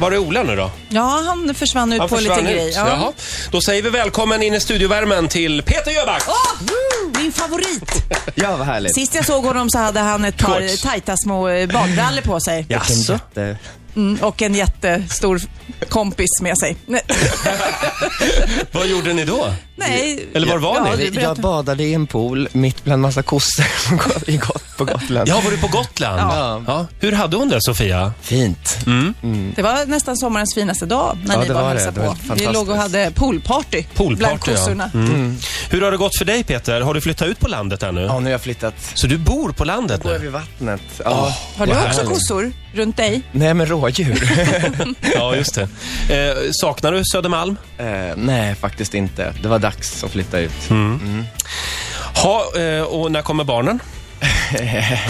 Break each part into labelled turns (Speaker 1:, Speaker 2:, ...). Speaker 1: var det Ola nu då?
Speaker 2: Ja, han försvann ut
Speaker 1: Han
Speaker 2: på
Speaker 1: försvann
Speaker 2: lite
Speaker 1: ut.
Speaker 2: grejer.
Speaker 1: Jaha. Då säger vi välkommen in i studiovärmen till Peter Jöback.
Speaker 2: Åh, min favorit!
Speaker 3: Ja, vad härligt.
Speaker 2: Sist jag såg honom så hade han ett par
Speaker 1: Shorts.
Speaker 2: tajta små eh, badbrallor på sig.
Speaker 3: Vilken
Speaker 1: Jaså?
Speaker 3: jätte...
Speaker 2: Mm, och en jättestor kompis med sig. Nej,
Speaker 1: Vad gjorde ni då?
Speaker 2: Nej.
Speaker 1: Eller var var
Speaker 2: ja,
Speaker 1: ni?
Speaker 2: det berättar-
Speaker 3: Jag badade i en pool mitt bland massa kossor på Got- i Got- på Gotland.
Speaker 1: Ja, var du på Gotland?
Speaker 3: Ja.
Speaker 1: Hur hade hon det, Sofia?
Speaker 3: Fint.
Speaker 2: Det var nästan sommarens finaste dag när
Speaker 3: Ja,
Speaker 2: ni
Speaker 3: det
Speaker 2: var och
Speaker 3: var det.
Speaker 2: hälsade
Speaker 3: Det var
Speaker 2: på. Vi
Speaker 3: fantastiskt.
Speaker 2: låg och hade poolparty,
Speaker 1: Poolparty,
Speaker 2: bland
Speaker 1: ja. Mm.
Speaker 2: kossorna. Mm.
Speaker 1: Hur har det gått för dig, Peter? Har du flyttat ut på landet ännu?
Speaker 3: Ja, nu har jag flyttat.
Speaker 1: Så du bor på landet
Speaker 3: Bor jag
Speaker 1: nu?
Speaker 3: vid vattnet. Ja.
Speaker 2: Har du
Speaker 3: Vad
Speaker 2: också
Speaker 3: härligt.
Speaker 2: kossor runt dig?
Speaker 3: Nej, men rådjur.
Speaker 1: Ja, just det. Eh, saknar du Södermalm?
Speaker 3: eh, nej, faktiskt inte. Det var dags att flytta ut.
Speaker 1: Mm. Ha, eh, och när kommer barnen?
Speaker 2: Eh,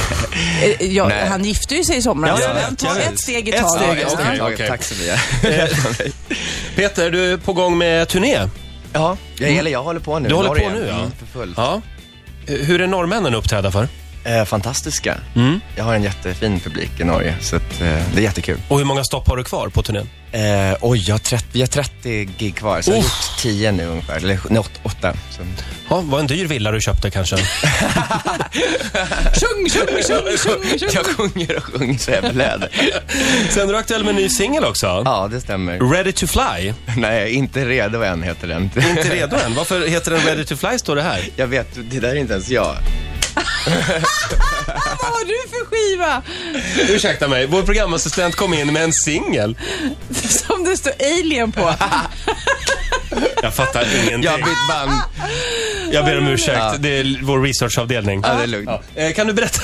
Speaker 2: Ja,
Speaker 3: Nej.
Speaker 2: han gifte ju sig i
Speaker 1: Ja,
Speaker 2: somras. Ja,
Speaker 1: jag
Speaker 2: men
Speaker 1: vet,
Speaker 2: ta
Speaker 1: jag vet.
Speaker 2: ett steg i
Speaker 1: Ett
Speaker 2: taget.
Speaker 1: steg,
Speaker 2: Ja.
Speaker 1: ett steg. Okej, Eh,
Speaker 3: Okej,
Speaker 1: okej.
Speaker 3: Tack Sofia.
Speaker 1: Peter, du är på gång med turné.
Speaker 3: ja, jag, eller jag håller på nu.
Speaker 1: Mm. Du håller på
Speaker 3: Norge.
Speaker 1: nu, ja.
Speaker 3: Mm, för fullt.
Speaker 1: Ja. Eh, Hur är norrmännen uppträdda för?
Speaker 3: Eh, fantastiska.
Speaker 1: Mm.
Speaker 3: Jag har en jättefin publik i Norge, så att, eh, det är jättekul.
Speaker 1: Och hur många stopp har du kvar på turnén?
Speaker 3: Eh, oj, jag har 30, vi har 30 gig kvar, så jag har
Speaker 1: Uff.
Speaker 3: gjort 10 nu ungefär. Eller nej, åt- åtta. Så.
Speaker 1: Ja, var en dyr villa du köpte kanske?
Speaker 2: Sjung, sjung, sjung, sjung, sjung.
Speaker 3: Jag sjunger och sjunger så jag blöder.
Speaker 1: Sen är du aktuell med en ny singel också.
Speaker 3: Ja, det stämmer.
Speaker 1: Ready to fly.
Speaker 3: Nej, inte redo än heter den.
Speaker 1: Inte redo än. Varför heter den Ready to fly står det här?
Speaker 3: Jag vet, det där är inte ens jag.
Speaker 2: Vad har du för skiva?
Speaker 1: Ursäkta mig, vår programassistent kom in med en singel.
Speaker 2: Som det står Alien på.
Speaker 1: Jag fattar ingenting.
Speaker 3: Jag har bytt band.
Speaker 1: Jag ber om ursäkt. Det är vår researchavdelning.
Speaker 3: Ja, det är lugnt.
Speaker 1: Eh, Kan du berätta?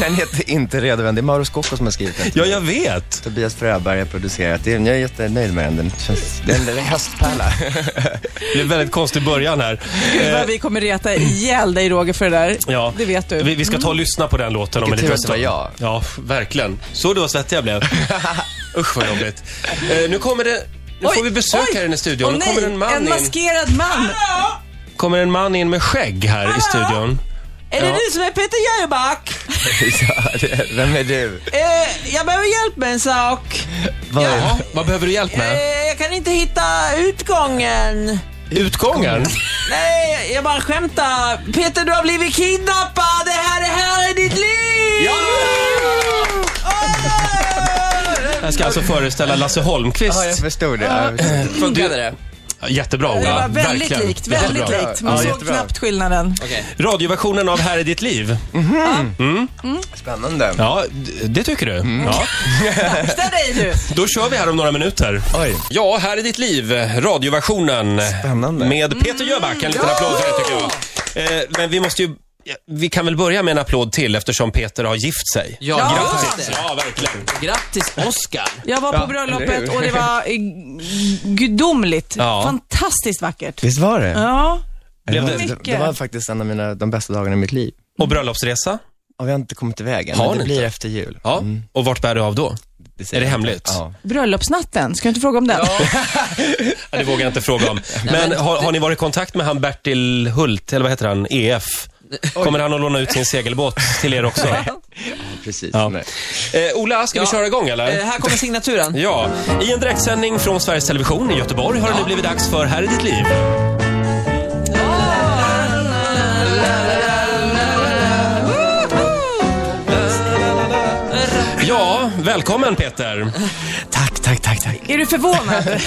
Speaker 3: Den heter inte redo än. Det är Mauro Scocco som har skrivit den.
Speaker 1: Ja, jag vet.
Speaker 3: Tobias Fröberg har producerat den. Jag är jättenöjd med den. Den, känns, den är en höstpärla.
Speaker 1: Det blev en väldigt konstig början här.
Speaker 2: Gud vad vi kommer reta ihjäl dig Roger för det där.
Speaker 1: Ja,
Speaker 2: Det vet du. Mm.
Speaker 1: Vi, vi ska ta och lyssna på den låten om en
Speaker 3: Vilken
Speaker 1: liten
Speaker 3: tur att det var
Speaker 1: stund.
Speaker 3: jag.
Speaker 1: Ja, verkligen. Så du vad svettig jag blev? Usch vad jobbigt. Eh, nu kommer det... Nu får vi besök
Speaker 2: oj.
Speaker 1: här inne i studion.
Speaker 2: Åh,
Speaker 1: nu
Speaker 2: nej,
Speaker 1: kommer en man
Speaker 2: en
Speaker 1: in.
Speaker 2: maskerad man.
Speaker 1: Kommer en man in med skägg här i studion.
Speaker 2: Är det
Speaker 1: Ja.
Speaker 2: du som är Peter Jöback?
Speaker 3: ja, det, vem är du?
Speaker 2: Eh, jag behöver hjälp med en sak.
Speaker 3: Vad-
Speaker 1: Jaha, vad behöver du hjälp
Speaker 2: Eh,
Speaker 1: med?
Speaker 2: jag kan inte hitta utgången.
Speaker 1: Utgången?
Speaker 2: Nej, jag bara skämtar. Peter, du har blivit kidnappad. Det här, det här är ditt liv!
Speaker 1: Ja! Jag ska alltså föreställa Lasse Holmqvist.
Speaker 3: Ja, jag förstod det. Ja, jag förstod.
Speaker 1: Funkade det? Jättebra Ola.
Speaker 2: Det var väldigt
Speaker 1: Verkligen.
Speaker 2: likt, väldigt
Speaker 1: Jättebra.
Speaker 2: likt. Man
Speaker 3: Ja,
Speaker 2: såg
Speaker 3: jättebra.
Speaker 2: knappt skillnaden.
Speaker 1: Radioversionen av Här är ditt liv.
Speaker 3: Spännande.
Speaker 1: Ja, d- det tycker du.
Speaker 2: Mm.
Speaker 1: Ja.
Speaker 2: Akta dig nu.
Speaker 1: Då kör vi här om några minuter.
Speaker 3: Oj.
Speaker 1: Ja, här är ditt liv, radioversionen.
Speaker 3: Spännande.
Speaker 1: Med Peter Jöback. En liten applåd för det tycker jag. Eh, Men vi måste ju... ja, Vi kan väl börja med en applåd till eftersom Peter har gift sig.
Speaker 4: Ja,
Speaker 2: Ja.
Speaker 4: grattis!
Speaker 1: Ja, verkligen.
Speaker 4: Grattis Oscar!
Speaker 2: Jag var på bröllopet och det var eh, g- gudomligt.
Speaker 1: Ja.
Speaker 2: Fantastiskt vackert.
Speaker 3: Visst var det?
Speaker 2: Ja.
Speaker 3: Det, var,
Speaker 2: Mycket.
Speaker 3: det, det var faktiskt en av mina, de bästa dagarna i mitt liv.
Speaker 1: Och bröllopsresa?
Speaker 3: Ja, vi har inte kommit iväg än,
Speaker 1: Har
Speaker 3: men
Speaker 1: ni
Speaker 3: det blir
Speaker 1: inte?
Speaker 3: efter jul.
Speaker 1: Ja. Och vart bär du av då?
Speaker 3: säger
Speaker 1: Är det
Speaker 3: jag inte.
Speaker 1: hemligt?
Speaker 3: Ja.
Speaker 2: Bröllopsnatten, ska jag inte fråga om den?
Speaker 1: Ja, det vågar jag inte fråga om. Men har, har ni varit i kontakt med han Bertil Hult, eller vad heter han, EF? Kommer han att låna ut sin segelbåt till er också?
Speaker 3: Precis.
Speaker 1: Ja.
Speaker 3: Nej.
Speaker 1: Eh, Ola, ska vi
Speaker 4: Ja.
Speaker 1: köra igång
Speaker 4: Eh,
Speaker 1: eller?
Speaker 4: här kommer signaturen.
Speaker 1: Ja, i en direktsändning från Sveriges Television i Göteborg har det nu blivit dags för Här är ditt liv. Ja, välkommen Peter.
Speaker 3: Tack, tack, tack, tack.
Speaker 2: Är du förvånad?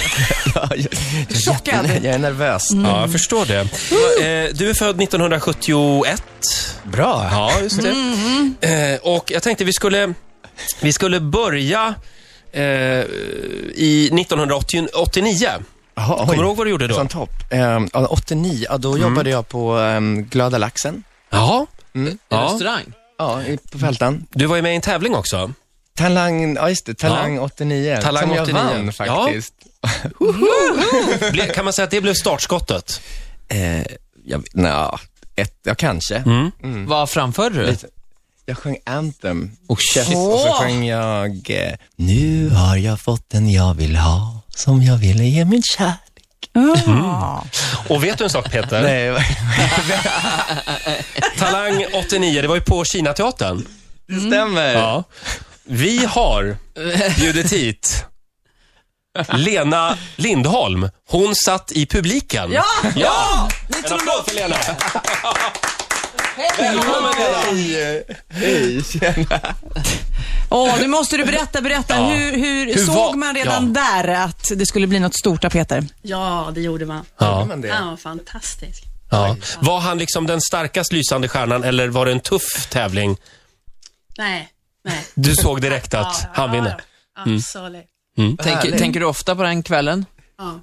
Speaker 3: Ja, jag, jag, är
Speaker 2: Chockad.
Speaker 3: jätte- jag är nervös.
Speaker 1: Ja, jag förstår det. Eh, Du är född 1971.
Speaker 3: Bra.
Speaker 1: Ja, just det. Eh, och jag tänkte vi skulle, vi skulle börja eh, i 1989.
Speaker 3: Jaha, oj.
Speaker 1: Kommer du ihåg vad du gjorde då?
Speaker 3: Sån topp. Eh, ja, 89, ja, då jobbade jag på ehm, Glada laxen. Mm.
Speaker 1: Ja,
Speaker 4: En
Speaker 1: Ja.
Speaker 4: restaurang.
Speaker 3: Ja, i- på Fältan.
Speaker 1: du var ju med i en tävling också.
Speaker 3: Talang, ja just det, Talang 89.
Speaker 1: Talang
Speaker 3: som
Speaker 1: 89.
Speaker 3: jag vann faktiskt.
Speaker 1: Ble, kan man säga att det blev startskottet?
Speaker 3: Eh, jag, nja, ett, ja kanske.
Speaker 4: Vad framförde du?
Speaker 3: Lite. Jag sjöng Anthem.
Speaker 4: Oh, shit.
Speaker 3: Yes, Och så sjöng jag eh, Nu har jag fått den jag vill ha, som jag ville ge min kärlek.
Speaker 2: Ja.
Speaker 1: Och vet du en sak Peter?
Speaker 3: Nej,
Speaker 1: Talang 89, det var ju på Kinateatern.
Speaker 3: det stämmer.
Speaker 1: Ja. Vi har bjudit hit Lena Lindholm, hon satt i publiken.
Speaker 2: Ja!
Speaker 1: ja!
Speaker 2: Ni
Speaker 1: En
Speaker 2: tror
Speaker 1: applåd för Lena.
Speaker 2: Hej!
Speaker 1: Välkommen Lena.
Speaker 3: Hej! Hej, tjena!
Speaker 2: Åh, nu måste du berätta, berätta.
Speaker 1: Ja.
Speaker 2: Hur, hur,
Speaker 1: Hur
Speaker 2: såg
Speaker 1: var-
Speaker 2: man redan där att det skulle bli något stort av Peter?
Speaker 5: Ja, det gjorde man.
Speaker 1: Ja,
Speaker 3: Men det,
Speaker 5: Han var fantastisk.
Speaker 1: ja. Var han liksom den starkast lysande stjärnan eller var det en tuff tävling?
Speaker 5: Nej, nej.
Speaker 1: Du såg direkt att
Speaker 5: Ja, ja,
Speaker 1: han vinner. Mm.
Speaker 5: ja, ja, Absolut.
Speaker 4: Tänker, tänker du ofta på den kvällen?
Speaker 5: Ja.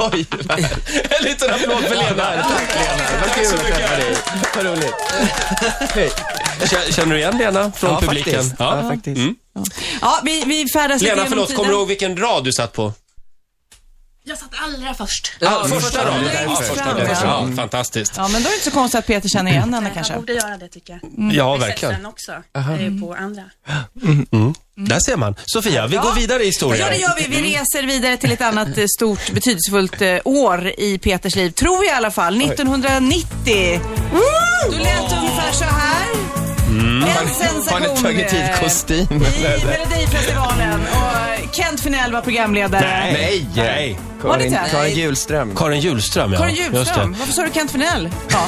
Speaker 4: Oj,
Speaker 1: En liten applåd för Lena.
Speaker 3: vad kul att träffa dig. Vad roligt. Hej.
Speaker 1: K- Känner du igen Lena från
Speaker 4: Ja,
Speaker 1: publiken?
Speaker 4: faktiskt.
Speaker 1: Ja.
Speaker 3: Ja, faktiskt.
Speaker 2: Ja, vi, vi färdas lite
Speaker 1: Lena,
Speaker 2: genom
Speaker 1: förlåt,
Speaker 2: tiden.
Speaker 1: kommer du ihåg vilken rad du satt på?
Speaker 5: Jag satt allra först.
Speaker 1: Ja, första raden. Ja,
Speaker 2: Längst
Speaker 1: första
Speaker 2: fram,
Speaker 1: raden.
Speaker 2: ja.
Speaker 1: Ja, fantastiskt.
Speaker 2: Ja, men då är det inte så konstigt att Peter känner igen henne
Speaker 5: Nej, Han
Speaker 2: kanske.
Speaker 5: borde göra det tycker jag.
Speaker 2: Mm.
Speaker 1: Ja,
Speaker 5: Vi ses
Speaker 1: verkligen.
Speaker 5: sen också. Det är på andra.
Speaker 1: Där ser man. Sofia, vi går vidare i
Speaker 2: Mm. Ja,
Speaker 1: historien.
Speaker 2: det gör vi.
Speaker 3: Mm.
Speaker 2: Vi reser vidare till ett annat eh, stort betydelsefullt eh, år i Peters liv, tror jag i alla fall. 1990. Då lät det ungefär så här. En
Speaker 3: Mm. Har
Speaker 2: sensation.
Speaker 3: ni tagit hit
Speaker 2: eh,
Speaker 3: kostym?
Speaker 2: I Melodifestivalen. Och eh, Kent Finell var programledare.
Speaker 3: Nej!
Speaker 1: Nej.
Speaker 2: Var det
Speaker 3: Karin,
Speaker 2: inte?
Speaker 3: Karin Hjulström.
Speaker 1: Karin Hjulström, ja.
Speaker 2: Karin
Speaker 1: Just det.
Speaker 2: Hjulström. Varför sa du Kent Finell? Ja.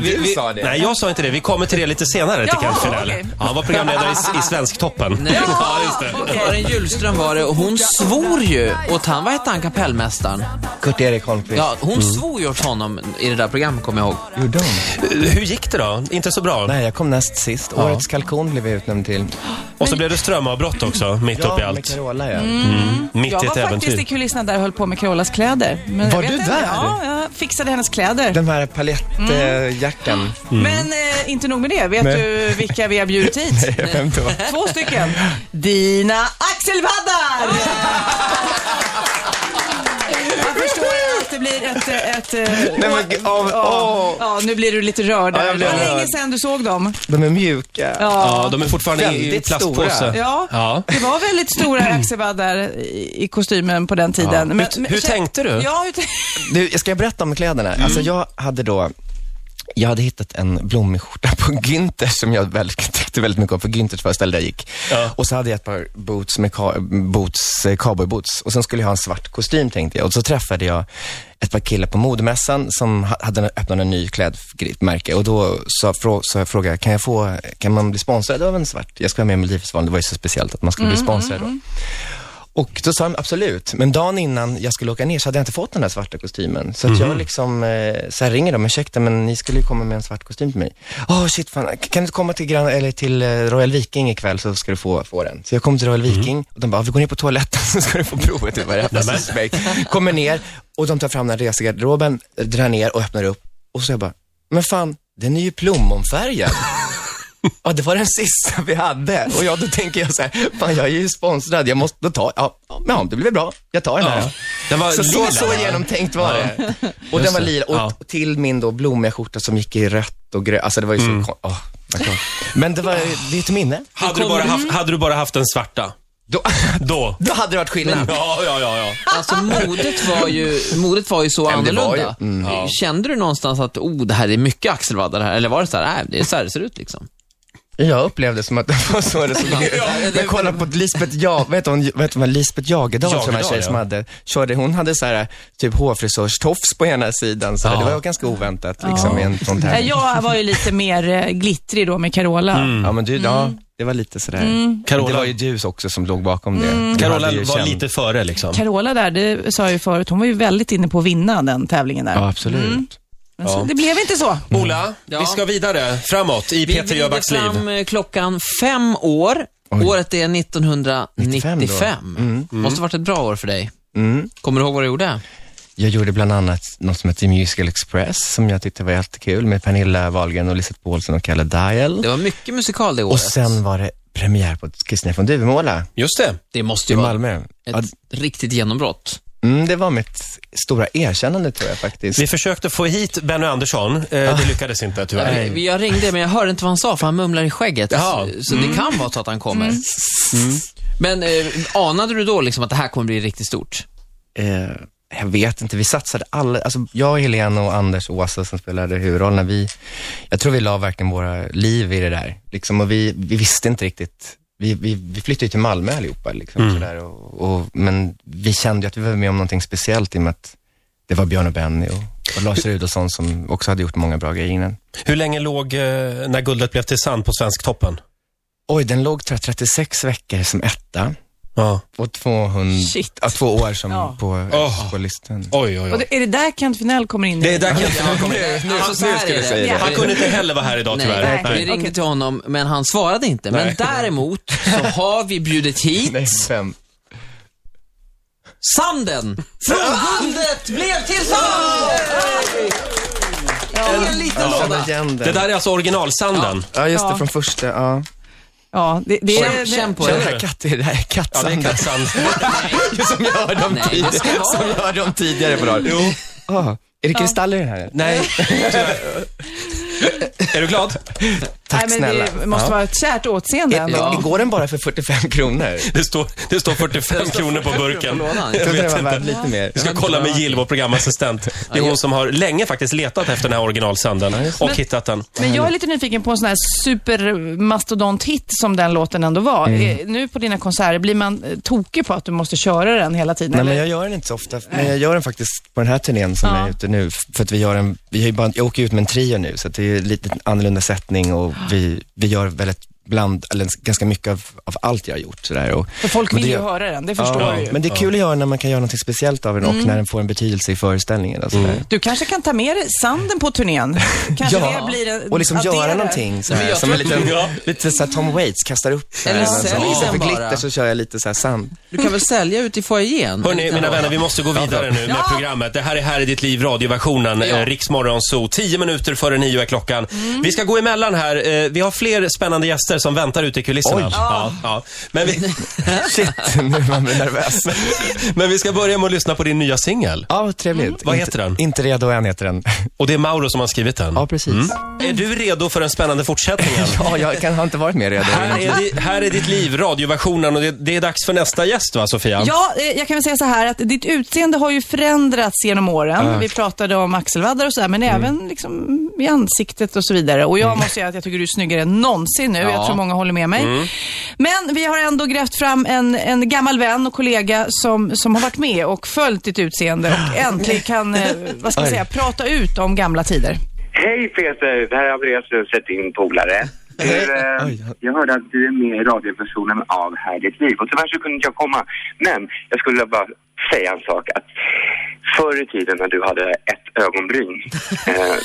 Speaker 3: Du sa det.
Speaker 1: Nej, jag sa inte det. Vi kommer till det lite senare, till
Speaker 2: Jaha,
Speaker 1: Kent Finell.
Speaker 2: okej.
Speaker 1: Ja, Han var programledare i, i Svensktoppen.
Speaker 4: Nej.
Speaker 1: Ja, just det.
Speaker 2: okej.
Speaker 4: Karin Hjulström var det och hon svor ju åt han, vad hette han, kapellmästaren?
Speaker 3: Kurt-Erik Holmqvist.
Speaker 4: Ja, hon svor ju åt honom i det där programmet, kommer jag ihåg.
Speaker 3: Gjorde hon?
Speaker 1: Hur gick det då? Inte så bra?
Speaker 3: Nej, jag kom näst sist. Årets kalkon blev jag utnämnd till.
Speaker 1: Och så blev det strömavbrott också, mitt
Speaker 3: Ja,
Speaker 1: upp i
Speaker 3: med
Speaker 1: allt.
Speaker 3: Carola ja.
Speaker 1: Mitt
Speaker 2: Jag
Speaker 1: i ett
Speaker 2: var faktiskt i
Speaker 1: äventyr.
Speaker 2: kulisserna där och höll på med Carolas kläder. Men jag
Speaker 3: Var
Speaker 2: vet
Speaker 3: du
Speaker 2: inte.
Speaker 3: där?
Speaker 2: Ja, jag fixade hennes kläder.
Speaker 3: Den här palettjackan. Mm.
Speaker 2: Men eh, inte nog med det. Vet
Speaker 3: Nej.
Speaker 2: du vilka vi har bjudit hit?
Speaker 3: Jag skämtar bara.
Speaker 2: Två stycken. Dina axelpaddar! Jag förstår att det blir ett... eh, ett eh,
Speaker 3: Nej men gud, åh,
Speaker 2: ja,
Speaker 3: åh.
Speaker 2: ja, nu blir du lite rörd.
Speaker 3: Ja,
Speaker 2: där.
Speaker 3: jag
Speaker 2: det
Speaker 3: blev
Speaker 2: var
Speaker 3: rörd.
Speaker 2: länge sedan du såg dem.
Speaker 3: De är mjuka.
Speaker 1: Ja, de är fortfarande i
Speaker 3: Väldigt
Speaker 1: plastpåse.
Speaker 3: stora.
Speaker 2: Ja,
Speaker 1: Ja.
Speaker 2: det var väldigt stora axelvaddar i, i kostymen på den tiden. Men-
Speaker 1: Hur,
Speaker 2: men-
Speaker 1: hur tänkte du?
Speaker 2: Ja, hur tänkte
Speaker 3: Du, ska jag berätta om kläderna? Alltså jag hade då, jag hade hittat en blommig skjorta på Günther som jag väldigt, tyckte väldigt mycket om, för Günthers var ett ställe där jag gick. Och så hade jag ett par boots med ka, boots, eh, cowboyboots och sen skulle jag ha en svart kostym tänkte jag. Och så träffade jag ett par killar på modemässan som ha- hade öppnat en ny klädmärke och då så, frå, så jag frågade jag, kan jag få, kan man bli sponsrad av en svart? Jag ska vara med i Melodifestivalen, det var ju så speciellt att man skulle bli sponsrad då. Och då sa de absolut, men dagen innan jag skulle åka ner så hade jag inte fått den där svarta kostymen. Så att jag liksom, eh, så här ringer dem, ursäkta men ni skulle ju komma med en svart kostym till mig. Åh shit, fan, kan du inte komma till, Gran- eller till eh, Royal Viking ikväll så ska du få, få den. Så jag kom till Royal Viking och de bara, vi går ner på toaletten så ska du få prova typ vad det är för suspekt. Kommer ner och de tar fram den här resegarderoben, eh, drar ner och öppnar upp. Och så jag bara, men fan, den är ju plommonfärgad. Ja, det var den sista vi hade. Och jag, då tänker jag så här, fan jag är ju sponsrad, jag måste, då ta, ja, ja det blir bra, jag tar den här.
Speaker 1: Ja. Den var
Speaker 3: Så, så,
Speaker 1: lila.
Speaker 3: så genomtänkt var det. Och
Speaker 1: Just
Speaker 3: den var
Speaker 1: det.
Speaker 3: lila, och
Speaker 1: Ja.
Speaker 3: och till min då blommiga skjorta som gick i rött och grönt, alltså det var ju så,
Speaker 1: Mm.
Speaker 3: kon- åh, vad klart. Men det var, det är ett minne.
Speaker 1: Hade du, bara haft, hade du bara haft den svarta?
Speaker 3: Då,
Speaker 1: Då?
Speaker 3: då hade det varit skillnad.
Speaker 1: Ja, ja, ja. ja.
Speaker 4: Alltså modet var ju, modet var ju så
Speaker 3: men det var
Speaker 4: annorlunda.
Speaker 3: ju-
Speaker 4: Kände du någonstans att, oh, det här är mycket axelvaddar här? Eller var det så här, nej, det är så här det ser ut liksom?
Speaker 3: Jag upplevde som att det var så det såg ut. Jag kollade på Lisbeth, ja, vet hon, vet hon, Lisbeth Jagedal, tror jag var en
Speaker 1: Jagedal,
Speaker 3: tjej
Speaker 1: ja.
Speaker 3: som hade, körde, hon hade så här, typ hårfrisörstofs på ena sidan, så här, det var ganska oväntat liksom i en sån
Speaker 2: Nej,
Speaker 3: tävling.
Speaker 2: Eh, Jag var ju lite mer eh, glittrig då med Carola.
Speaker 3: Ja men du, ja, det var lite sådär.
Speaker 1: Carola-
Speaker 3: Carola. Det var ju du också som låg bakom det. Du
Speaker 1: Carola
Speaker 3: hade ju
Speaker 1: var
Speaker 3: känt-
Speaker 1: lite före liksom.
Speaker 2: Carola där, det sa jag ju förut, hon var ju väldigt inne på att vinna den tävlingen där.
Speaker 3: Ja, absolut.
Speaker 2: Men så, det blev inte så.
Speaker 1: Ola,
Speaker 4: Ja.
Speaker 1: vi ska vidare framåt i
Speaker 4: Vi
Speaker 1: Peter
Speaker 4: vrider
Speaker 1: Jöbacks liv.
Speaker 4: fram eh, klockan fem år. Året är 1995.
Speaker 3: 95
Speaker 4: Måste varit ett bra år för dig.
Speaker 3: Mm.
Speaker 4: Kommer du ihåg vad du gjorde?
Speaker 3: Jag gjorde bland annat något som heter Musical Express, som jag tyckte var jättekul, med Pernilla Wahlgren och Lisette Paulsson och Kalle Dial.
Speaker 4: Det var mycket musikal det året.
Speaker 3: Och sen var det premiär på Kristina från Duvemåla
Speaker 1: Just det.
Speaker 4: det måste
Speaker 3: i
Speaker 4: ju vara
Speaker 3: Malmö.
Speaker 4: ett
Speaker 3: Ja,
Speaker 4: riktigt genombrott.
Speaker 3: Mm, det var mitt stora erkännande tror jag faktiskt.
Speaker 1: Vi försökte få hit Benny Andersson. Eh, det lyckades inte tyvärr.
Speaker 4: Nej. Jag ringde men jag hörde inte vad han sa för han mumlar i skägget.
Speaker 1: Jaha.
Speaker 4: Så
Speaker 3: Mm.
Speaker 4: det kan vara så att han kommer. Men eh, anade du då liksom att det här kommer bli riktigt stort?
Speaker 3: Eh, jag vet inte, vi satsade alla, alltså jag, Helene och Anders och Åsa som spelade huvudrollerna, vi, jag tror vi la verkligen våra liv i det där. Liksom, och vi, vi visste inte riktigt, vi, vi, vi flyttade ju till Malmö allihopa. Liksom, sådär, och, och, men vi kände ju att vi var med om någonting speciellt i och med att det var Björn och Benny och, och Lars Rudolfsson som också hade gjort många bra grejer innan.
Speaker 1: Hur länge låg eh, När guldet blev till sand på Svensktoppen?
Speaker 3: Oj, den låg tror jag, 36 veckor som etta
Speaker 1: Ja.
Speaker 3: och 200,
Speaker 2: Shit.
Speaker 3: ja, två år som
Speaker 2: Ja.
Speaker 3: på,
Speaker 1: Oh.
Speaker 3: på listan.
Speaker 1: Oj, oj,
Speaker 2: Och
Speaker 1: oj.
Speaker 2: det, är det där Kent Finell kommer in? i
Speaker 1: Det är där Kent
Speaker 4: Ja,
Speaker 1: kommer
Speaker 4: nu, nu, alltså, så
Speaker 3: nu
Speaker 4: här
Speaker 3: skulle
Speaker 4: är
Speaker 3: jag
Speaker 2: det.
Speaker 3: säga
Speaker 4: det.
Speaker 1: Han kunde inte heller vara här idag
Speaker 4: Nej,
Speaker 1: tyvärr.
Speaker 2: nej.
Speaker 4: vi ringde till honom, men han svarade inte. Men
Speaker 1: Nej.
Speaker 4: däremot så har vi bjudit hit
Speaker 3: Nej, fem.
Speaker 4: sanden! Från guldet blev till sand! En liten låda.
Speaker 3: Känner igen
Speaker 1: Det
Speaker 3: den.
Speaker 1: där är alltså originalsanden.
Speaker 3: Ja, just
Speaker 2: Ja.
Speaker 3: det, från första, ja.
Speaker 2: Ja, det, det är...
Speaker 4: Känn- Känn på
Speaker 3: Känner du
Speaker 4: det.
Speaker 3: det här katt, det här är
Speaker 1: Ja, det är
Speaker 3: kattsanden.
Speaker 1: kattsand.
Speaker 3: som jag hörde om,
Speaker 4: Nej, det
Speaker 3: tidigare-
Speaker 4: ska vara
Speaker 3: som jag hörde om tidigare på radio. Jo. Ah, är det kristaller i den här?
Speaker 1: Nej, tyvärr. Är du glad?
Speaker 3: Tack
Speaker 2: nej, men
Speaker 3: snälla.
Speaker 2: det måste vara ett kärt åtseende
Speaker 3: Ja.
Speaker 2: ändå.
Speaker 4: Ja.
Speaker 3: Går den bara för 45 kronor?
Speaker 1: Det står, det står 45 kronor på burken.
Speaker 4: på lådan.
Speaker 1: Jag
Speaker 3: Jag trodde
Speaker 1: vet
Speaker 3: den var
Speaker 1: inte.
Speaker 3: värd lite mer.
Speaker 1: Vi ska kolla med Jill, vår programassistent. Det är hon som har länge faktiskt letat efter den här originalsanden och hittat den.
Speaker 2: Men jag är lite nyfiken på en sån här supermastodont-hit som den låten ändå var.
Speaker 3: Mm.
Speaker 2: Eh, Nu på dina konserter, blir man eh, tokig på att du måste köra den hela tiden?
Speaker 3: Nej,
Speaker 2: eller?
Speaker 3: men jag gör den inte så ofta, men jag gör den faktiskt på den här turnén som
Speaker 2: Ja.
Speaker 3: jag är ute nu. f- För att vi gör en, vi har ju bara, jag åker ut med en trio nu, så att det är lite annorlunda sättning och vi, vi gör väldigt bland, eller ganska mycket av, av allt jag har gjort. Sådär. Och,
Speaker 2: För folk
Speaker 3: men
Speaker 2: vill
Speaker 3: det
Speaker 2: ju
Speaker 3: gör-
Speaker 2: höra den, det förstår
Speaker 3: ja,
Speaker 2: jag ju.
Speaker 3: Men det är kul att göra när man kan göra något speciellt av den
Speaker 2: Mm.
Speaker 3: och när den får en betydelse i föreställningen. Och, sådär.
Speaker 2: Du kanske kan ta med dig sanden på turnén? Kanske det blir en,
Speaker 3: och liksom
Speaker 2: att det är
Speaker 3: göra
Speaker 2: det.
Speaker 3: någonting så här,
Speaker 4: jag
Speaker 3: som en
Speaker 4: tror
Speaker 3: liten,
Speaker 1: Ja.
Speaker 3: lite så här Tom Waits kastar upp. så här,
Speaker 4: Eller
Speaker 3: och så
Speaker 4: sälj
Speaker 3: Istället
Speaker 4: den
Speaker 3: för
Speaker 4: bara.
Speaker 3: glitter så kör jag lite så här sand.
Speaker 4: Du kan väl sälja ut i foajén?
Speaker 1: Hörni, mina vänner, vi måste gå vidare nu med programmet. Det här är Här i ditt liv, radioversionen,
Speaker 4: Ja.
Speaker 1: ja. Riksmorgon Zoo. Tio minuter före nio är klockan. Vi ska gå emellan här. Eh, Vi har fler spännande gäster som väntar ute i kulisserna.
Speaker 3: Oj.
Speaker 1: Ja, ja. Men, vi,
Speaker 3: Shit, nu man blir nervös.
Speaker 1: men vi ska börja med att lyssna på din nya singel.
Speaker 3: Ja, vad trevligt.
Speaker 1: Vad
Speaker 3: Inte-
Speaker 1: heter den?
Speaker 3: Inte redo än heter den.
Speaker 1: Och det är Mauro som har skrivit den.
Speaker 3: Ja, precis.
Speaker 1: Är du redo för den spännande fortsättningen?
Speaker 3: Ja, jag kan, har inte varit mer redo.
Speaker 1: Här är, di- här är ditt liv, radioversionen och det, det är dags för nästa gäst va, Sofia?
Speaker 2: Ja, eh, jag kan väl säga så här att ditt utseende har ju förändrats genom åren. Vi pratade om axelvaddar och så här, men även liksom i ansiktet och så vidare. Och jag måste säga att jag tycker du är snyggare än någonsin nu. Jag
Speaker 4: Ja.
Speaker 2: tror många håller med mig. Men vi har ändå grävt fram en, en gammal vän och kollega som, som har varit med och följt ditt utseende och äntligen kan, eh, vad ska man säga, prata ut om gamla tider.
Speaker 6: Hej Peter, det här är Andreas Ruset, din polare. Hur, eh,
Speaker 3: Oj.
Speaker 6: Jag hörde att du är med i radioversionen av Här är ditt liv och tyvärr så kunde inte jag komma. Men jag skulle bara säga en sak att förr i tiden när du hade ett ögonbryn, eh,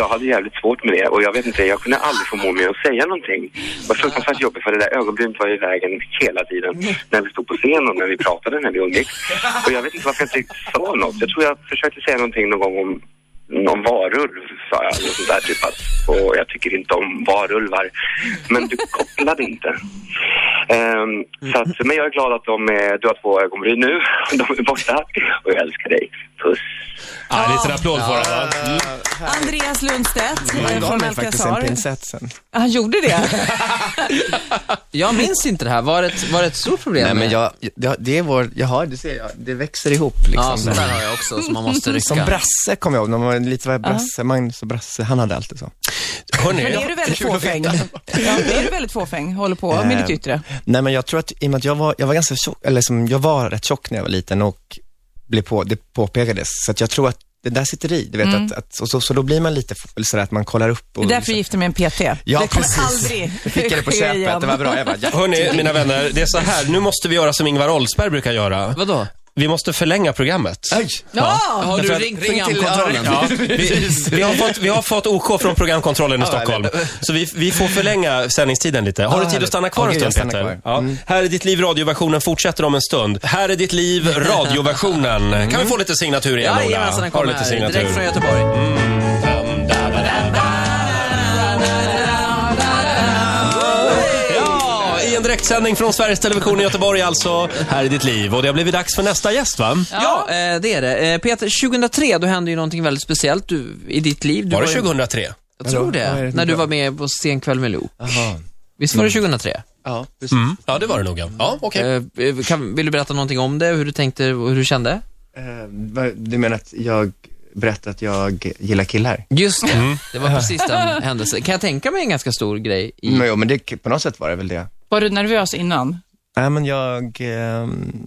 Speaker 6: jag hade jävligt svårt med det och jag vet inte, jag kunde aldrig förmå mig att säga någonting. Det var fruktansvärt jobbigt för det där ögonbrynet var i vägen hela tiden när vi stod på scen och när vi pratade, när vi umgicks. Och jag vet inte varför jag inte sa något. Jag tror jag försökte säga någonting någon gång om någon varulv sa jag, något sånt där typ att, och jag tycker inte om varulvar. Men du kopplade inte. Ehm, så att, men jag är glad att de, är- du har två ögonbryn nu, de är borta och jag älskar dig. Puss.
Speaker 1: Ja, en liten applåd för den va?
Speaker 2: Andreas Lundstedt eh,
Speaker 3: Han gav
Speaker 2: från
Speaker 3: mig faktiskt
Speaker 2: Melkasar.
Speaker 3: en pincett sen.
Speaker 2: Han gjorde det.
Speaker 4: Jag minns inte det här. Var det ett, var det ett stort problem?
Speaker 3: Nej, men
Speaker 4: med-
Speaker 3: jag, jag, det är vår, jaha, du ser, jag, det växer ihop
Speaker 4: Ja,
Speaker 3: liksom.
Speaker 4: sånt där har jag också som man måste rycka.
Speaker 3: som Brasse kommer jag ihåg, när man var lite var Brasse, Magnus och Brasse, han hade alltid så.
Speaker 1: Hörni,
Speaker 2: Men är du väldigt fåfäng? Ja, men är du väldigt fåfäng? Håller på
Speaker 3: Eh,
Speaker 2: med ditt yttre?
Speaker 3: Nej men jag tror att, i och med att jag var, jag var ganska tjock, eller som, jag var rätt tjock när jag var liten och blev på, det påpekades. Så att jag tror att det där sitter i, du vet att, att och så, så då blir man lite, f- sådär att man kollar upp och liksom-
Speaker 2: Det är därför du gifte mig med en PT.
Speaker 3: Ja,
Speaker 2: det kommer
Speaker 3: precis.
Speaker 2: aldrig
Speaker 3: fick jag det på
Speaker 2: ske igen.
Speaker 3: köpet, det var bra. Jag bara, ja.
Speaker 1: hörni, mina vänner, det är så här. Nu måste vi göra som Ingvar Oldsberg brukar göra.
Speaker 4: Vadå?
Speaker 1: Vi måste förlänga programmet.
Speaker 3: Aj!
Speaker 2: Ja!
Speaker 4: Har du
Speaker 1: Därför att-
Speaker 4: ringt
Speaker 3: ring till-
Speaker 4: programkontrollen?
Speaker 1: Ja, vi, vi, har fått, vi har fått OK från programkontrollen i Stockholm. Så vi, vi får förlänga sändningstiden lite. Har
Speaker 3: Ja,
Speaker 1: du tid att
Speaker 3: härligt.
Speaker 1: stanna kvar en
Speaker 3: Okej, jag
Speaker 1: stund
Speaker 3: stannar
Speaker 1: Peter?
Speaker 3: kvar.
Speaker 1: Ja. Här är ditt liv radioversionen fortsätter om en stund. Här är ditt liv radioversionen. Kan vi få lite signatur igen Ola?
Speaker 4: Jajamensan, den
Speaker 1: Har du
Speaker 4: kommer
Speaker 1: lite
Speaker 4: här.
Speaker 1: signatur? Mm.
Speaker 4: Direkt från Göteborg.
Speaker 1: Ja, I en direktsändning från Sveriges Television i Göteborg alltså. Här är ditt liv. Och det har blivit dags för nästa gäst va?
Speaker 4: Ja, eh, det är det. Eh, Peter, 2003 då hände ju någonting väldigt speciellt du, i ditt liv. Du
Speaker 1: Var Mm. det
Speaker 4: ju-
Speaker 1: 2003?
Speaker 4: Jag tror det.
Speaker 3: Vadå? Vad är det
Speaker 4: när du
Speaker 3: då?
Speaker 4: var med på Scenkväll med Lo.
Speaker 3: Jaha.
Speaker 4: Visst var det 2003?
Speaker 3: Ja, precis.
Speaker 1: Mm. Ja, det var det nog ja. Ja, okej.
Speaker 4: Eh, eh, kan, vill du berätta någonting om det, hur du tänkte och hur du kände?
Speaker 3: Eh, vad- du menar att jag berättar att jag gillar killar?
Speaker 4: Just det, det var precis den händelsen. Kan jag tänka mig en ganska stor grej i...
Speaker 3: Men, jo, men det, på något sätt var det väl det.
Speaker 2: Var du nervös innan?
Speaker 3: Nej, men jag, ehm,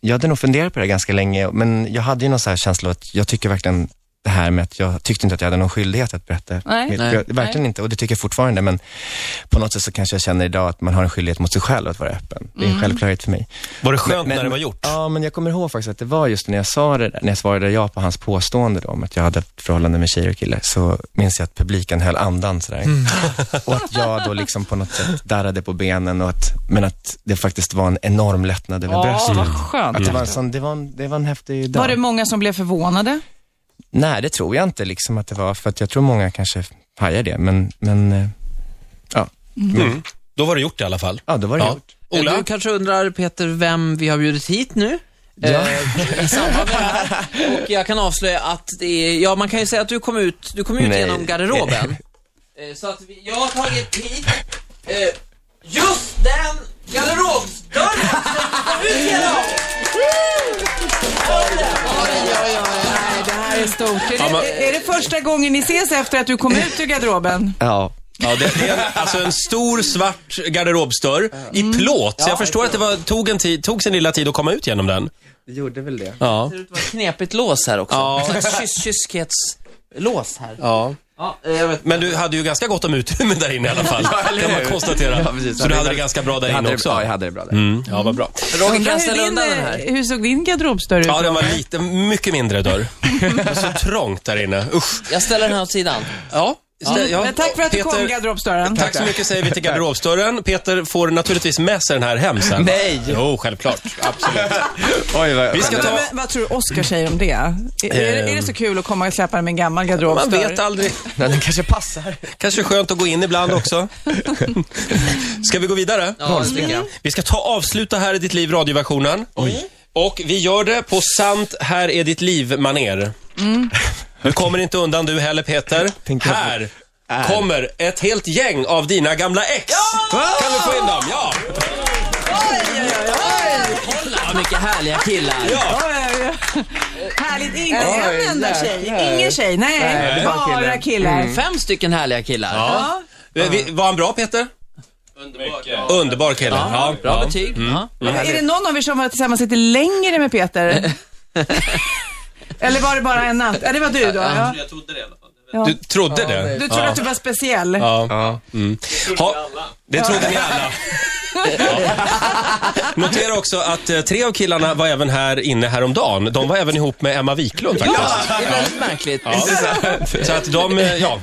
Speaker 3: jag hade nog funderat på det här ganska länge, men jag hade ju någon så här känsla av att jag tycker verkligen det här med att jag tyckte inte att jag hade någon skyldighet att berätta.
Speaker 2: Nej.
Speaker 3: mitt-
Speaker 4: Nej.
Speaker 3: jag, verkligen inte, och det tycker jag fortfarande, men på något sätt så kanske jag känner idag att man har en skyldighet mot sig själv att vara öppen. Det är en
Speaker 4: Mm.
Speaker 3: självklarhet för mig.
Speaker 1: Var det skönt
Speaker 3: Men-
Speaker 1: när det var gjort?
Speaker 3: Ja, men jag kommer ihåg faktiskt att det var just när jag sa det, där- när jag svarade ja på hans påstående då, om att jag hade ett förhållande med tjejer och killar, så minns jag att publiken höll andan sådär. och att jag då liksom på något sätt darrade på benen, och att, men att det faktiskt var en enorm lättnad över
Speaker 2: Ja,
Speaker 3: bröstet.
Speaker 2: vad skönt.
Speaker 3: Att det, var en sån, det, var en, det var en häftig dag.
Speaker 2: Var det många som blev förvånade?
Speaker 3: Nej, det tror jag inte liksom att det var, för att jag tror många kanske hajar det, men, men eh, ja. Men,
Speaker 1: Då var det gjort i alla fall.
Speaker 3: ja, då var det
Speaker 1: Ja.
Speaker 3: gjort.
Speaker 1: Ola?
Speaker 4: Eh, Du kanske undrar, Peter, vem vi har bjudit hit nu? Eh, I samband med det här. Och jag kan avslöja att det är, ja man kan ju säga att du kom ut, du kom ut
Speaker 3: Nej.
Speaker 4: genom garderoben. Eh, så att vi, jag har tagit hit eh, just den garderobsdörren som du kom ut genom! Oj, oj, oj.
Speaker 2: Nej, det här är stort. Är,
Speaker 1: men-
Speaker 2: det, är det första gången ni ses efter att du kom ut ur garderoben?
Speaker 3: Ja.
Speaker 1: Ja, det, det är en, alltså en stor svart garderobsdörr
Speaker 3: Mm.
Speaker 1: i plåt. Så jag förstår att det var, tog, en tid, tog sin lilla tid att komma ut genom den.
Speaker 3: Det gjorde väl det.
Speaker 1: Ja.
Speaker 4: Det ser ut att vara ett knepigt lås här också.
Speaker 1: Ja.
Speaker 4: Ja. slags kyss, kyskhetslås här.
Speaker 1: ja.
Speaker 4: Ja, eh, jag vet.
Speaker 1: Men du hade ju ganska gott om utrymme där inne i alla fall, kan man konstatera.
Speaker 3: precis.
Speaker 1: Så du hade det ganska bra där
Speaker 3: Jag
Speaker 1: inne
Speaker 3: hade det,
Speaker 1: också.
Speaker 3: ja, jag hade det bra där.
Speaker 1: Mm, ja, vad bra.
Speaker 4: Roger, kan
Speaker 2: Undrar
Speaker 4: jag
Speaker 2: hur,
Speaker 4: ställa
Speaker 2: din,
Speaker 4: undan den här?
Speaker 2: eh, hur såg din garderobsdörr ut?
Speaker 1: Ja, den var lite, mycket mindre dörr. Det var så trångt där inne. Usch.
Speaker 4: Jag ställer den här åt sidan.
Speaker 1: Ja. stä- ja.
Speaker 2: Men Eh, tack för att du kom,
Speaker 1: Peter,
Speaker 2: garderobsdörren.
Speaker 1: Tack så mycket säger vi till garderobsdörren. Peter får naturligtvis med sig den här hem sen.
Speaker 3: Nej.
Speaker 1: Jo, självklart. Absolut.
Speaker 3: Oj, vad
Speaker 1: Vi ska
Speaker 2: Men,
Speaker 1: ta...
Speaker 2: men, vad tror du Oscar säger om det? Är, är, det- är
Speaker 3: Eh,
Speaker 2: det så kul att komma och släppa den med en gammal
Speaker 1: Man
Speaker 2: garderobsdörr?
Speaker 1: vet aldrig.
Speaker 3: Nej, den kanske passar.
Speaker 1: Kanske skönt att gå in ibland också. Ska vi gå vidare?
Speaker 4: Ja, det tycker jag.
Speaker 1: Vi ska ta avsluta Här är ditt liv radioversionen. Och vi gör det på sant Här är ditt liv maner.
Speaker 2: Mm.
Speaker 1: Du kommer inte undan du heller Peter.
Speaker 3: Tänker jag på-
Speaker 1: Här kommer ett helt gäng av dina gamla ex. Kan vi få in dem? Ja!
Speaker 4: Ja, mycket härliga killar.
Speaker 1: ja.
Speaker 2: Oj, oj, oj. Härligt, ingen en enda tjej. Ingen tjej, nej.
Speaker 3: det var
Speaker 2: bara
Speaker 3: killar.
Speaker 2: killar.
Speaker 4: Fem stycken härliga killar.
Speaker 1: Ja. Vi- Vi, var han bra Peter? Underbar, Underbar kille.
Speaker 4: Ja, Mm.
Speaker 1: Ja,
Speaker 4: bra
Speaker 1: ja.
Speaker 4: betyg. Ja.
Speaker 2: Är det någon av er som var tillsammans lite längre med Peter? Eller var det bara en natt? Ja, det var du då. Ja.
Speaker 1: Du trodde det?
Speaker 2: Du trodde att du var speciell.
Speaker 1: Ja. Mm. Ha, det trodde ni alla. Ja. Notera också att eh, tre av killarna var även här inne häromdagen. De var även ihop med Emma Wiklund faktiskt.
Speaker 4: Det är väldigt märkligt.
Speaker 1: Så att de, eh, ja,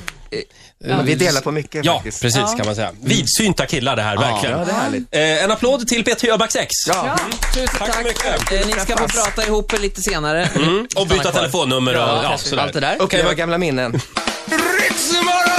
Speaker 3: Vi delar på mycket
Speaker 1: ja
Speaker 3: faktiskt.
Speaker 1: precis kan man säga. Vidsynta killar det här, verkligen.
Speaker 3: Ja, det är härligt.
Speaker 1: Eh, en applåd till Peter Jöbacks ex.
Speaker 3: Ja.
Speaker 4: Tusen
Speaker 1: Tack så mycket. Mm.
Speaker 4: Eh, Ni ska få prata ihop er lite senare.
Speaker 1: Och byta
Speaker 4: Stanna kvar.
Speaker 1: telefonnummer och
Speaker 4: Mm. Ja,
Speaker 1: ja,
Speaker 4: kanske.
Speaker 1: sådär.
Speaker 4: Allt det där.
Speaker 1: Okej,
Speaker 3: Uppleva
Speaker 1: vad-
Speaker 3: gamla minnen.
Speaker 7: Ritzmorgon